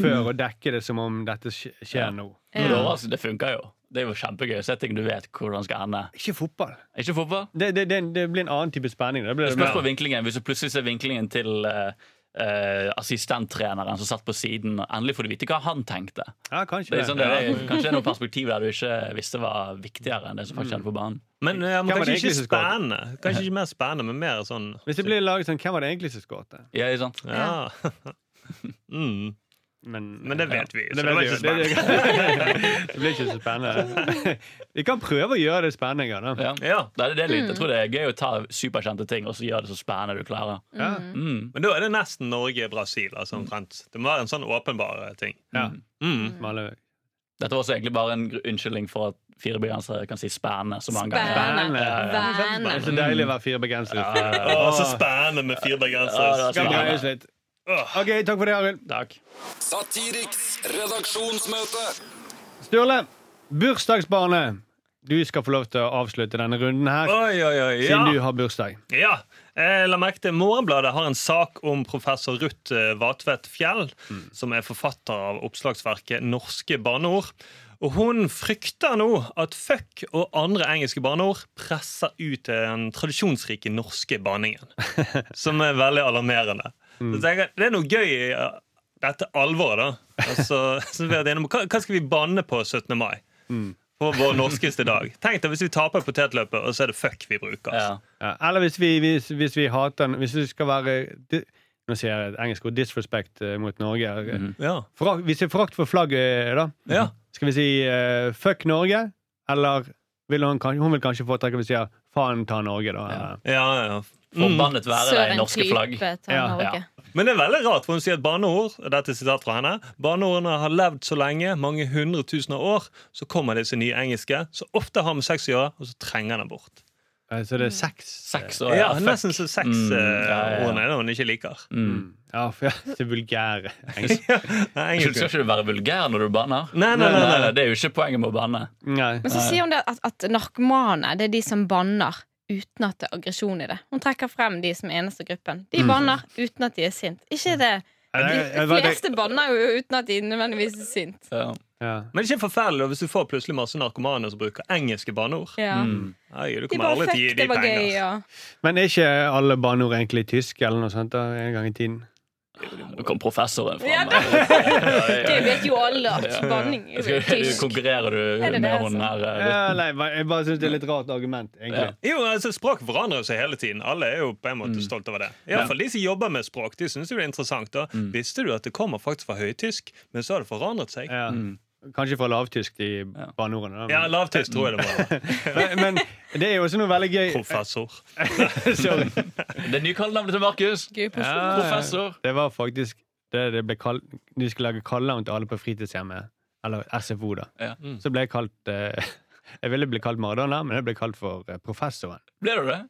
før og dekke det som om dette skj- skjer nå.
Men altså, det overrasker- Det funka jo. Det er jo kjempegøy å se ting du vet hvordan skal ende.
Ikke fotball.
Ikke fotball.
Det, det, det, det blir en annen type spenning. Det blir
Det spørs på vinklingen. Hvis du plutselig ser vinklingen til eh, eh, assistenttreneren som satt på siden, og endelig får du vite hva han tenkte.
Ja, kanskje
Det er
det.
sånn, det er, kanskje det er noen perspektiv der du ikke visste var viktigere enn det som faktisk
Mm.
skjedde på banen.
Men, ja,
Hvem
men
var
kanskje
det
ikke
egentlig som skåret?
spennende. Kanskje ikke mer spennende, men mer sånn
Hvis det blir laget sånn, hvem var det egentlig som skåret?
Ja, ikke sant?
Ja. mm.
Men,
Men det vet vi,
Ja,
så det var
vet
ikke
vi jo. Det, det blir ikke så spennende. Vi kan prøve å gjøre det spennende.
Ja.
Da.
Ja.
Det er det litt. Jeg tror det er gøy å ta superkjente ting og så gjøre det så spennende du klarer.
Ja.
Mm.
Men da er det nesten Norge-Brasil, altså omtrent. Det må være en sånn åpenbar ting.
Ja.
Mm.
Maløy.
Dette var også egentlig bare en gr- unnskyldning for at fire bergensere kan si 'spennende' så mange ganger.
Spennende.
Det er
Vane.
så deilig å være fire bergensere.
Å, så spennende med fire
Ja,
bergensere.
det
Skal
var
dreie oss litt.
Åh.
OK, takk for det, Arild.
Takk.
Satiriks redaksjonsmøte.
Sturle, bursdagsbarnet. Du skal få lov til å avslutte denne runden her,
Oi, oi, oi. Ja.
siden du har bursdag.
ja. Eh, La merke til Morgenbladet har en sak om professor Ruth eh, Vatvedt Fjell, som er forfatter av oppslagsverket 'Norske barneord'. Og hun frykter nå at 'fuck' og andre engelske barneord presser ut den tradisjonsrike norske banningen. som er veldig alarmerende. Så tenker jeg, det er noe gøy i uh, dette alvoret, da. Altså, så vi har vært enige om, hva, hva skal vi banne på 17. mai? På vår norskeste dag. Tenk deg hvis vi taper potetløpet, og så er det fuck vi bruker.
Ja.
Ja, eller hvis vi, hvis, hvis vi hater den Hvis vi skal være di- Nå sier jeg et engelsk ord. Disrespect eh, mot Norge.
Ja.
Forakt- hvis det er forakt for flagget, eh, da.
Mhm. Ja.
Skal vi si eh, fuck Norge? Eller vil hun, kan- hun vil kanskje foretrekke at vi sier faen ta Norge, da? eller?
ja, ja.
Forbannet være deg,
Søren
norske flagg.
klype tar
Ja,
Norge.
ja.
Men det er veldig rart, for hun sier at barneord og dette er sitat fra henne, barneordene har levd så lenge, mange hundre tusen av år, så kommer disse nye engelske, så ofte har med sex å gjøre, og så trenger den bort.
Eh, Så det er sex.
Sex og
Ja,
ja, fuck.
Nesten så
Mm, ja, ja, ja.
sex-ordene er det hun ikke liker.
Mm.
Ja, for jeg er vulgære engelsk.
Nei,
Skal
engelsk.
ikke du være vulgær når du banner? Eh,
Nei, nei, nei, nei.
Det er jo ikke poenget med å banne.
Nei.
Men så sier hun det at, at narkomane det er de som banner uten at det er aggresjon i det. Hun trekker frem de som eneste gruppen. De banner uten at de er sint. Ikke det.
Mm. Nei,
De
jeg- jeg-
fleste banner jo uten at de nødvendigvis er sint.
Ja.
Ja.
Men det er ikke forferdelig hvis du får plutselig masse narkomane som bruker engelske banneord.
Ja.
Mm.
Nei, du
De
kommer
bare
aldri til å gi
fuck,
de
det var
penger. altså.
gøy, ja.
Men er ikke alle banneord egentlig tyske eller noe sånt da, en gang i tiden?
Nå kom professoren eh, fram.
Ja, da- Det vet jo alle at banning er jo
Skal du,
tysk.
konkurrerer du
Er det
med
det, altså?
hun her? eh,
Ja, nei, jeg bare syns det er litt rart argument, egentlig.
Jo, altså Språk forandrer seg hele tiden. Alle er jo på en måte stolt over det. Iallfall de som jobber med språk. De syns jo det er interessant. da Visste du at det kommer faktisk fra høytysk, men så har det forandret seg?
Ja. Kanskje fra lavtysk, de banneordene.
Ja,
da,
lavtysk tror jeg det var.
Men, men det er jo også noe veldig gøy
Professor.
Sorry.
Det er nykallenavnet til Markus.
Gøy person.
Ja,
Professor.
Det var faktisk det det ble kalt De skulle lage kallenavn til alle på fritidshjemmet. Eller SFO, da.
Ja.
Så ble jeg kalt eh, Jeg ville bli kalt Maradona, men jeg ble kalt for eh, professoren.
Ble du det?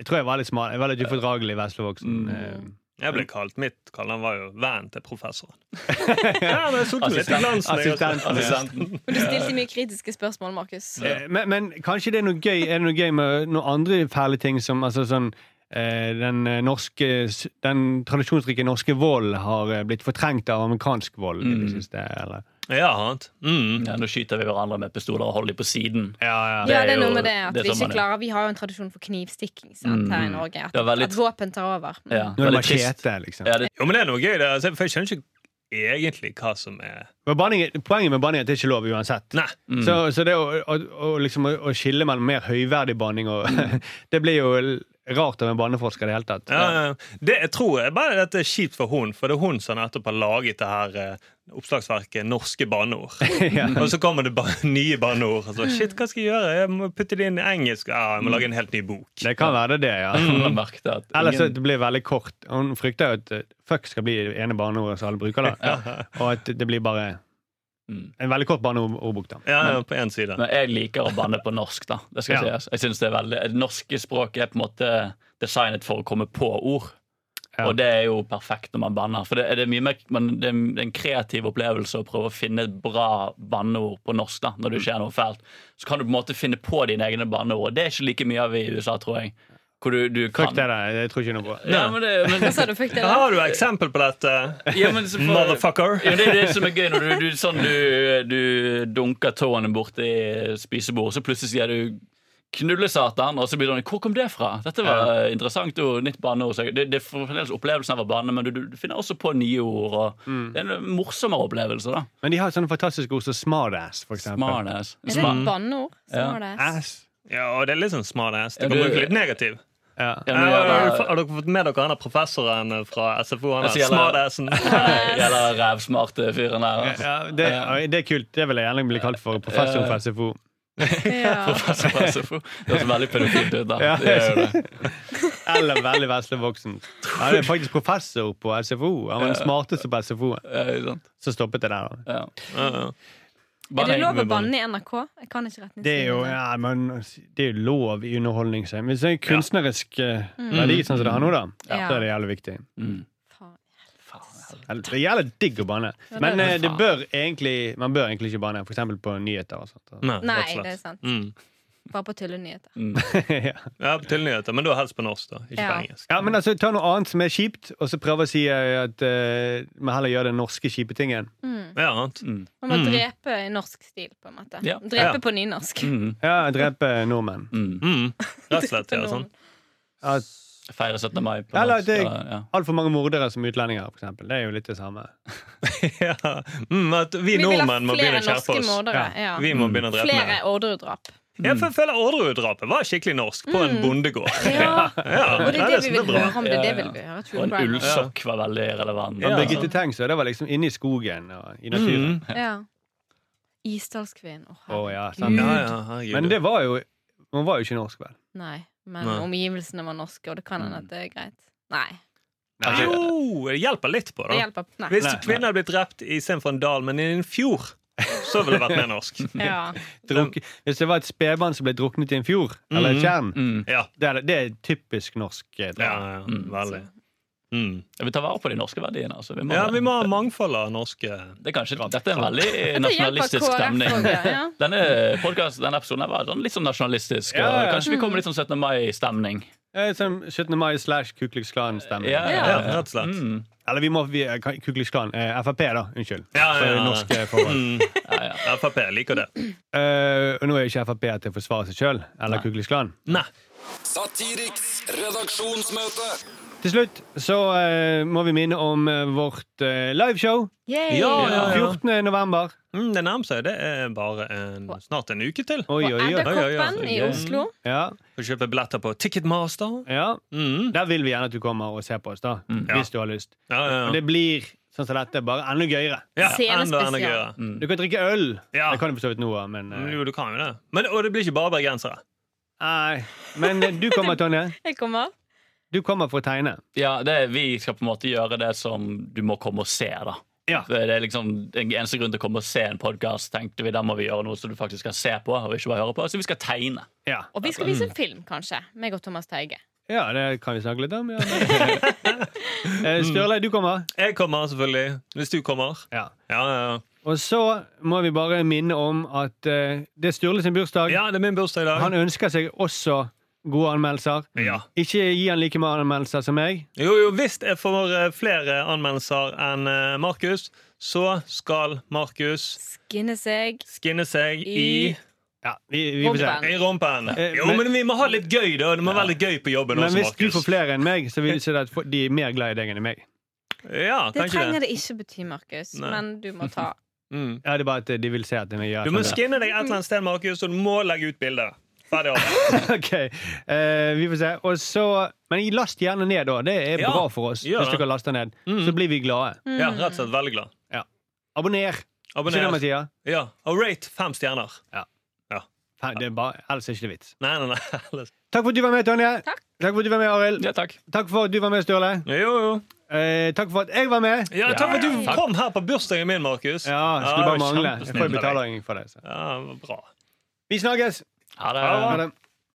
Jeg tror jeg var litt smal. Jeg var litt ufordragelig veslevoksen. eh,
Jeg ble kalt mitt kallenavn var jo vennen til professoren. Ja, men jeg suttet litt i glansen, jeg også.
Assistenten.
Assistenten.
Men du stilte mye kritiske spørsmål, Markus.
Eh, Men, men kanskje det er noe gøy Er det noe gøy med noen andre fæle ting som altså sånn eh, den, eh, norske, s- den tradisjonsrike norske volden har eh, blitt fortrengt av amerikansk vold i det siste. Eller?
Ja, sant. Mm.
Ja, nå skyter vi hverandre med pistoler og holder dem på siden.
Ja, ja.
Ja, det er
jo-
noe med det at
det er
vi
sånn
ikke
man er.
klarer Vi har jo en tradisjon for knivstikking sant, her i Norge. At,
Det var litt-
at våpen tar over. Mm.
Ja,
Nå er det
veldig trist.
machete, liksom.
Ja, det,
Jo, men det er noe gøy. Det. Altså, for jeg skjønner ikke egentlig hva som er
Men banning- Poenget med banning er at det er ikke lov uansett.
Nei.
Så, så det å, å, å, liksom, å, å skille mellom mer høyverdig banning og Det blir jo l- rart av en baneforsker i det hele tatt.
Ja, ja, ja. det jeg tror jeg bare at det er kjipt for hun, for det er hun som nettopp har laget det her eh, oppslagsverket 'Norske banneord'. Og så kommer det ba nye banneord. og så, Shit, hva skal jeg gjøre? Jeg må putte det inn i engelsk. Ja, jeg må lage en helt ny bok.
Det kan være det, ja.
man merkte at
Eller Mm. så
ingen,
det blir veldig kort. Hun frykter jo at eh, fuck skal bli det ene barneordet som alle bruker, da. Og at det blir bare
Mm.
en veldig kort barneordbok, da.
Ja, ja, på én side.
men jeg liker å banne på norsk, da. Det skal
Ja.
sies. Jeg synes det er veldig Det norske språket er på en måte designet for å komme på ord.
Ja.
Og det er jo perfekt når man banner. For det er, det er, mye mer, man, det er en kreativ opplevelse å prøve å finne et bra banneord på norsk. da, når det skjer noe fælt. Så kan du på en måte finne på dine egne banneord. og Det er ikke like mye av i USA, tror jeg. Hvor du, du kan
Fuck det der. Jeg tror ikke noe på det.
Ja, men det, men,
Hva sa du, frykter
Da har du eksempel på dette,
ja, men så får-
motherfucker.
Ja, det er jo det som er gøy når du, du, sånn du, du dunker tåene borti spisebordet, så plutselig sier du 'knulle satan', og så blir det sånn 'Hvor kom det fra?' Dette var interessant og nytt banneord. så jeg- Det, det er fremdeles opplevelsen av å banne, men du, du finner også på nye ord. Og
Mm.
Det er en morsommere opplevelse, da.
Men de har sånne fantastiske ord som smartass, for eksempel.
Smartass.
Er det
Smart.
et banneord?
Ja.
Smartass.
Ass.
Ja, og det er litt sånn smart ass. Du
Ja,
kan
du-
bruke litt negativ.
Ja.
Ja,
Eh,
men
har du-
Jævla,
har dere fått med dere han er professoren fra SFO? Han er
Jeg sier det.
smartassen.
jævla rævsmarte fyren der. Altså.
Ja, det, det er kult. Det vil jeg gjerne bli kalt for. Professor
Ja.
på SFO.
Ja.
Professor på SFO. Det høres veldig pedofilt ut, da.
Ja.
Det gjør jo det.
Eller veldig vesle voksen. Han er faktisk professor på SFO. Han var den smarteste på SFO.
Ja, ikke sant?
Så stoppet det der. da.
Ja.
Ja,
Er det lov å
Bare-
banne i NRK? Jeg kan ikke
Det er jo,
retningslinjene.
ja, men, det er jo lov i underholdning. så- Hvis det er kunstnerisk eh, verdi, sånn som det har nå, da,
Ja.
så er det jævlig viktig.
Mm.
Faen.
Det er jævlig digg å banne.
Ja, det er
Men eh,
det.
det bør egentlig, man bør egentlig ikke banne, f.eks. på nyheter. og sånt.
Nei,
Nei,
rett og slett.
det er sant.
Mm.
Bare på tullenyheter.
ja.
Ja, til nyheter, men da helst på norsk, da. Ikke
Ja.
på engelsk.
ja, men altså, Ta noe annet som er kjipt, og så prøve å si eh, at eh, man heller gjør den norske kjipe tingen.
Ja, sant?
Man må drepe i norsk stil, på en måte.
Ja.
Drepe
Mm. Ja.
på nynorsk.
Mm.
Ja, drepe nordmenn.
Mm. Rett og slett,
Drepe
ja,
nordmenn.
sant?
At
Feire 17. mai på
Eller
norsk,
det-
eller- ja.
Altfor mange mordere som utlendinger, for eksempel. Det er jo litt det samme.
Ja. Mm, at vi
Vi vil ha
nordmenn må
flere
begynne å
norske
skjerpe oss.
mordere. Ja.
Vi må begynne å drepe
Flere
mer.
ordredrap.
Mm. Ja, for jeg føler Orderud-drapet var skikkelig norsk, på en bondegård.
Mm. Ja.
Ja,
Og det er
nei,
det vi
som
vil
bra.
høre om. Det er det vi
Ja, ja.
vil høre.
Og
True
en
crime.
ullsokk var veldig relevant.
Ja.
altså.
Birgitte Tengs, det var liksom inne i skogen og i naturen.
Mm.
Ja. Isdalskvinnen. Å,
Å, ja,
herregud.
sant.
Ja, ja, herregud.
Men det var jo Hun var jo ikke norsk, vel?
Nei, men
Nei. Mm.
omgivelsene var norske, og det kan hende at det er greit. Nei.
Nei.
Altså,
Jo, det hjelper litt på,
Det
da.
hjelper. Nei.
Hvis kvinner hadde blitt drept istedenfor en dal, men i en fjord, så ville det vært mer norsk.
Ja.
Druk, hvis det var et spedbarn som ble druknet i en fjord, eller et tjern,
Mm.
Ja,
det er, det er typisk norsk eh,
ja,
drap.
ja veldig. Mm.
Vi tar vare på de norske verdiene. Altså. Vi må,
Ja, vi må ha mangfold av norske
det er kanskje, dette er en veldig
Dette hjelper
nasjonalistisk
KrF
stemning.
også, ja.
Denne, podcast, denne episoden her var sånn, litt sånn nasjonalistisk.
Ja, ja,
Og
ja.
kanskje vi kommer litt sånn 17. mai-stemning.
Eh, Som 17. mai slash Ku Klux Klan-stemning.
Ja, ja,
Ja,
ja.
rett og slett.
Mm.
Eller vi må vi, eh, Ku Klux Klan eh, Frp, da. Unnskyld.
Ja, ja,
For
ja.
norske forhold.
Mm.
Ja, ja.
Frp liker det.
Eh, og nå er jo ikke Frp til å forsvare seg sjøl, eller Ku Klux Klan.
Nei.
Satiriks redaksjonsmøte.
Til slutt så eh, må vi minne om eh, vårt eh, liveshow.
Yay.
Ja, ja, ja.
14. november.
Mm, det nærmer seg. Det er bare en, snart en uke til.
Oi,
Og
oi, oi.
Oi, oi, oi,
Edderkoppen
så
i
gøy.
Oslo.
Ja,
Får kjøpe billetter på Ticketmaster.
ja.
Mm.
Der vil vi gjerne at du kommer og ser på oss, da. Hvis du har lyst.
Ja, Mm. ja,
Og
ja.
det blir sånn som dette, bare enda gøyere.
ja
Scenespesial.
enda, enda gøyere.
Du kan drikke øl.
Ja.
Det kan du for så vidt nå, men eh,
Jo, du kan jo det. Men, og det blir ikke bare bergensere.
Nei. Men eh, du kommer, Tonje.
Jeg kommer.
Du kommer for å tegne.
ja det, er- vi skal på en måte gjøre det som du må komme og se, da.
Ja.
For Det er liksom den eneste grunnen til å komme og se en podkast, tenkte vi. Da må vi gjøre noe som du faktisk skal se på, og ikke bare høre på. Så vi skal tegne.
Ja,
Og vi skal vise en film, kanskje. Meg og Thomas Teige.
ja det kan vi snakke litt om. Ja.
Mm.
Eh, Sturle, du kommer.
Jeg kommer, selvfølgelig. Hvis du kommer.
Ja.
Ja, ja, ja.
Og så må vi bare minne om at eh, det er Sturle sin bursdag.
ja det er min bursdag i dag.
Han ønsker seg også gode anmeldelser.
Ja.
Ikke gi han like mange anmeldelser som meg.
Jo, jo, hvis jeg får eh, flere anmeldelser enn eh, Markus, så skal Markus
Skinne seg.
skinne seg i,
I-
Ja, vi, vi får se.
Robben.
i rumpen.
Eh,
Jo,
men-
men vi må ha litt gøy, da. Det må være litt gøy på jobben
Men
også,
hvis du får
Markus.
flere enn meg, så vil det si at de er mer glad i deg enn i meg.
Ja,
Det
kanskje
trenger
det.
det ikke bety, Markus,
Nei.
men du må ta
Mm.
Ja, det er bare at de vil se at jeg gjør
Du må
sånn.
skinne deg et eller annet sted, Markus, og du må legge ut bilde. Ferdig. Arne.
Ok, eh, vi får se. Og så, men last gjerne ned, da. Det er
Ja,
bra for oss.
gjør
Hvis
det. Mm.
dere laster ned, så blir vi glade.
Mm.
Ja, rett og slett veldig glad.
Abonner. Ikke det,
Abonner.
Mathias?
Ja, og rate fem stjerner.
Faen, Det er bare, ellers er ikke det vits.
Nei, nei, nei. ellers-
Takk for at du var med, Tonje.
Takk.
for at du var med, Arild.
Ja, takk.
Takk for at du var med, Sturle.
Jo, jo.
Eh, takk for at jeg var med.
Ja, takk for at du
Takk.
kom her på bursdagen min, Markus.
Ja,
det
skulle bare
var
mangle. Jeg
kjempesnilt
får
av deg.
betaling for det. Så.
Ja, det var bra.
Vi snakkes.
Ha det.
Ha det.